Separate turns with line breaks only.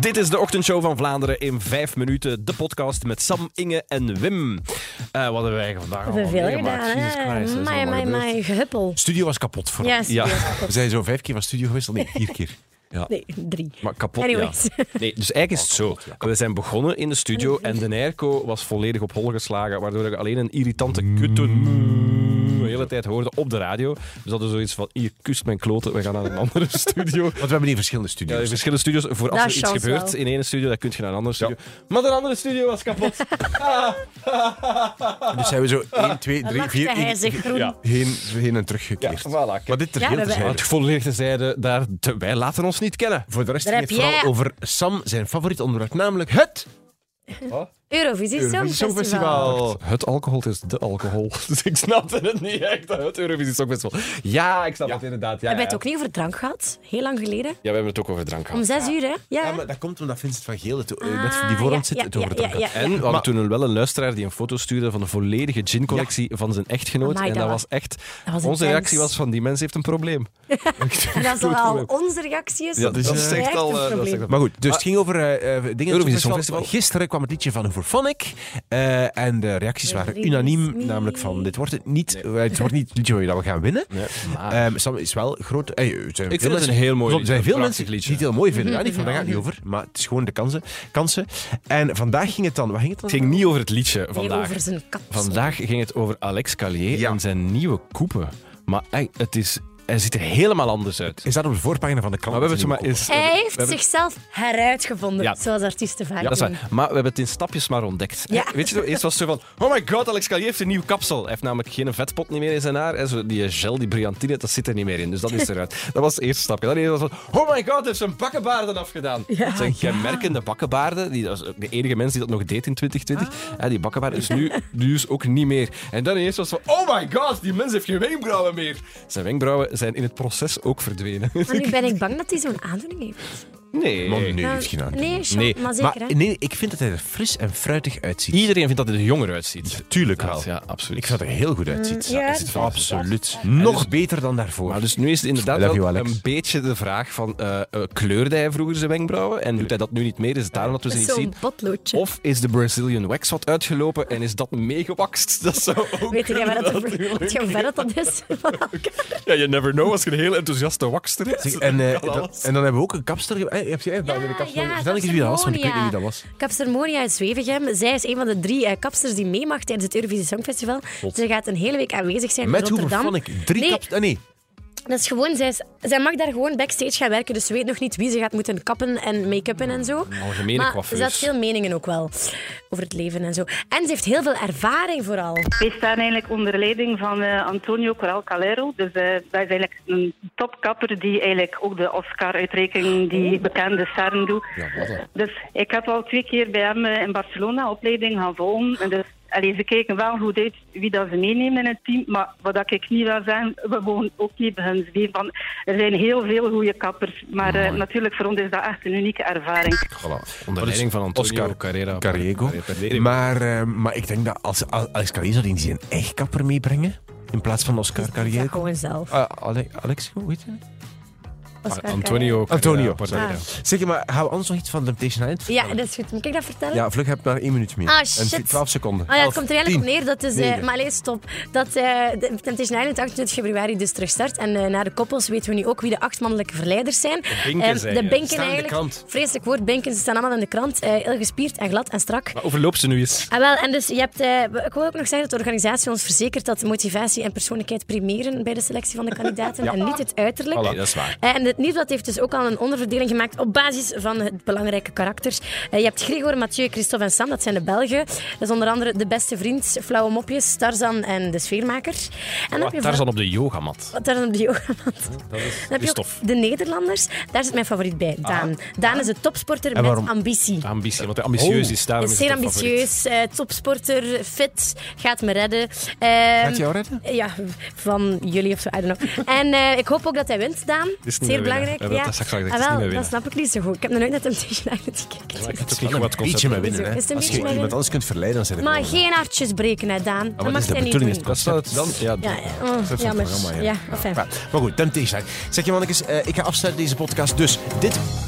Dit is de ochtendshow van Vlaanderen in vijf minuten. De podcast met Sam, Inge en Wim. Eh wat hebben wij eigenlijk vandaag
We hebben
allemaal
veel
meegemaakt?
gedaan,
Jesus Christ, dat is
hè? Mijn,
allemaal
Mm, mijn,
gebeurd.
mijn gehuppel.
Studio was kapot voor
Ja,
Ja.
serieus.
We zijn zo vijf keer van studio gewisseld. Nee, vier keer. Ja.
Nee, drie.
Maar kapot,
Anyways.
ja. Nee, dus eigenlijk is het zo. We zijn begonnen in de studio en de airco was volledig op hol geslagen, waardoor ik alleen een irritante
Mm.
kutten de hele tijd hoorde op de radio. Dus dat is zoiets van, hier, kust mijn kloten, we gaan naar een andere studio.
Want we hebben hier verschillende
Ja,
studio's.
in verschillende studio's, voor als
Daar
er iets
chance
gebeurt
wel.
in één studio, dan kun je naar een andere studio. Maar de andere studio was kapot.
Dus zijn we zo
Ah.
1, 2, 3,
Lachte
4.
hij zich groen.
Ja.
Heen, heen en
Ja,
teruggekeerd.
voilà.
Maar
kijk.
dit ter
Ja,
heel
dat wij-
terzijde.
Want volledige zijde, daar, te- wij laten ons niet kennen.
Voor de rest
Daar
ging het
heb jij-
vooral over Sam, zijn favoriet onderwerp, namelijk het
Eurovisie
Eurovisie
Songfestival.
Songfestival.
Het alcohol is de alcohol. Dus ik snapte het niet echt. Het Eurovisie Songfestival. Ja, ik snap het inderdaad. Ja,
Hebben we het
ja.
ook niet over drank gehad? Heel lang geleden.
Ja, we hebben het ook over drank
Om
gehad.
zes uur, hè? Ja.
Ja, maar dat komt omdat Vincent van Geel het eh,
Ah,
net die voor
ja,
ons zit,
ja,
het over
ja,
drank
ja, ja.
had.
En we hadden toen wel een luisteraar die een foto stuurde van de volledige gincollectie van zijn echtgenoot.
Amai,
en
dat
dat
was-
was echt...
was
onze
intens.
reactie was van, die mens heeft een probleem.
En dat is dan al onze reactie. Is,
Ja, dus dat is echt
echt
al,
een
eh, dat is
probleem.
echt al-
Maar goed, dus het ging over eh, eh, dingen.
Eurovisie
Songfestival.
Songfestival.
Gisteren kwam het liedje van Hoeverphonic. eh en de reacties waren
Release me.
unaniem. Namelijk van, dit wordt het niet. eh, Het wordt niet het liedje waar je dat we gaan winnen.
Eh,
Ah.
Ehm, Sam is wel groot. eh, er zijn
vind
veel
het
mensen-
een heel mooi
Klopt, Er zijn
liedje,
veel
een
mensen
prachtig liedje.
die het heel mooi vinden. Ja, niet van, daar gaat het niet over. Maar het is gewoon de kansen. kansen. En vandaag ging het dan. Waar ging het dan?
Het ging niet over het liedje
Nee,
vandaag.
over zijn kap.
Vandaag ging het over Alex Callier
Ja.
en zijn nieuwe coupe. Maar ey, het is, hij ziet er helemaal anders uit.
Is dat op de voorpagina van de krant? Oh,
Maar we hebben het maar eens...
Hij
we
heeft
hebben-
zichzelf heruitgevonden,
Ja.
zoals artiesten vaak
Ja, dat is
doen.
waar. Maar we hebben het in stapjes maar ontdekt.
Ja.
Hè? Weet je, zo, eerst was het zo van... Oh my god, Alex Calier heeft een nieuw kapsel. Hij heeft namelijk geen vetpot niet meer in zijn haar. En zo, die gel, die brillantine, dat zit er niet meer in. Dus dat is eruit. Dat was het eerste stapje. Dan eerst was het van... Oh my god, hij heeft zijn bakkenbaarden afgedaan. dat zijn kenmerkende bakkenbaarden. Die, dat is ook de enige mens die dat nog deed in 2020.
Ah.
Ja, die bakkenbaarden is nu dus ook niet meer. En dan eerst was het van... Oh my god, die mens heeft geen wenkbrauwen meer. Zijn wenkbrauwen zijn in het proces ook verdwenen.
Maar nu ben ik bang dat hij zo'n aandoening heeft.
Nee.
Man, nee,
Nou,
heeft geen aandacht.
nee, Sean,
Nee,
maar zeker,
Maar
hè?
nee, ik vind dat hij er fris en fruitig uitziet.
Iedereen vindt dat hij er jonger uitziet.
Tuurlijk wel.
Ja, absoluut.
Ik vind dat er heel goed uitziet.
Mm, ja,
hij
dat
ziet
is
absoluut. Nog beter dan daarvoor.
dus- Maar dus nu is het inderdaad
I love
wel
you, Alex.
een beetje de vraag van eh, eh, kleurde hij vroeger zijn wenkbrauwen en doet hij dat nu niet meer? Is het daarom dat we ze niet
Zo'n
zien?
potloodje.
Of is de Brazilian wax wat uitgelopen en is dat meegewakst? Dat zou ook
Weet jij waar dat
kunnen,
over
natuurlijk.
gaat? Hoe ver dat dat is? van elkaar?
Ja, you never know als je een heel enthousiaste wakster hebt.
Zeg, en, eh,
Kan
dat-
alles.
en dan hebben we ook een kapster. ge- Eh, heb jij wel weer een kapster?
Ah, ja,
Vertel ik eens wie dat was, want ik weet niet wie dat
Kapstermonia.
was.
Kapstermonia uit Zwevegem. Zij is een van de drie eh, kapsters die meemacht tijdens het Eurovisie Songfestival. Ze gaat een hele week aanwezig zijn
Met
in
hoeveel
Rotterdam.
vond ik? Drie
nee,
kapsters. Nee,
Dat is gewoon, zij, is- zij mag daar gewoon backstage gaan werken, dus ze weet nog niet wie ze gaat moeten kappen en make-uppen en zo.
algemene
maar
coiffeurs.
ze had veel meningen ook wel over het leven en zo. En ze heeft heel veel ervaring vooral.
Wij staan eigenlijk onder leiding van eh, Antonio Corral Calero. Dus eh, dat is eigenlijk een topkapper die eigenlijk ook de Oscar-uitreiking, die bekende CERN doet. dus ik heb al twee keer bij hem eh, in Barcelona opleiding gaan volgen. En dus, allee, ze kijken wel goed uit wie dat ze meenemen in het team. Maar wat dat ik niet wil zeggen, we mogen ook niet beginnen zweven. Want er zijn heel veel goede kappers. Maar eh, natuurlijk, voor ons is dat echt een unieke ervaring.
Onder leiding van Antonio
dus Oscar
Carrera.
Carrego.
Carrera.
Maar, eh, maar ik denk dat als, als Alex Carrego zou die een echt kapper meebrengen, in plaats van Oscar
Ja,
Carrego.
gewoon zelf.
Ah, Ale- Alex, hoe heet hij?
Oscar
Antonio.
Ah, Antonio.
Carrera.
Ah.
Zeg maar, gaan we anders nog iets van Temptation Island
Carrera. Ja, dat is goed. Moet ik dat vertellen?
Ja, vlug, heb maar één minuut meer.
Ah,
En
shit.
12 seconden.
Ah ja, het
Elf,
komt er eigenlijk op
tien.
neer dat is, eh,
negen.
maar allez, stop. Dat eh, de Temptation Island 28 februari dus terugstart. En eh, na de koppels weten we nu ook wie de acht mannelijke verleiders zijn. De
binken zijn,
De
ja.
binken
Staan in de
eigenlijk.
krant.
Vreselijk woord, binken. Ze staan allemaal in de krant. eh, heel gespierd en glad en strak.
Maar overloop ze nu eens.
Ah, wel, en dus je hebt, eh, ik wil ook nog zeggen dat de organisatie ons verzekert dat motivatie en persoonlijkheid primeren bij de selectie van de kandidaten en niet het uiterlijk.
Voilà. Nee, dat is waar.
Eh, en het nieuwsblad heeft dus ook al een onderverdeling gemaakt op basis van het belangrijke karakter. Eh, je hebt Gregor, Mathieu, Christophe en Sam, dat zijn de Belgen. Dat is onder andere de beste vriend, flauwe mopjes, Tarzan en de sfeermaker. En dan heb je
Tarzan op de yogamat.
wat daar op de yogamat. Dan heb je ook
stof.
de Nederlanders. Daar zit mijn favoriet bij, Daan.
Ah.
Daan is een topsporter
waarom?
met ambitie.
Ambitie, want hij ambitieus
Oh.
is. Daarom
Is
is
zeer
het een favoriet.
ambitieus, eh, topsporter, fit, gaat me redden. Ehm,
Gaat jou redden?
Ja, van jullie of zo, I don't know. en eh, ik hoop ook dat hij wint, Daan.
is niet
zeer
meer
belangrijk.
winnen. We hebben dat straks al gezegd, het is niet
Ah, wel,
meer
dat
winnen.
snap ik niet zo goed. Ik heb nog nooit naar Temptation Island gekeken.
Het is
Wel
ook
een
wat
beetje met winnen,
Is het een
hè. Als
beetje
je
met
iemand
winnen?
anders kunt verleiden, dan zijn er
Maar
gewoon-
geen hartjes breken, hè, Daan.
Ah,
dat
dat
mag
is de
hij niet
bedoeling,
doen.
is het
Dat zou het dan... Ja,
Ja, oh,
Dat is een
jammer.
programma,
Ja,
ja.
enfin.
Ja, maar goed, Temptation Island. Zeg je mannetjes, eh, ik ga afsluiten deze podcast. Dus dit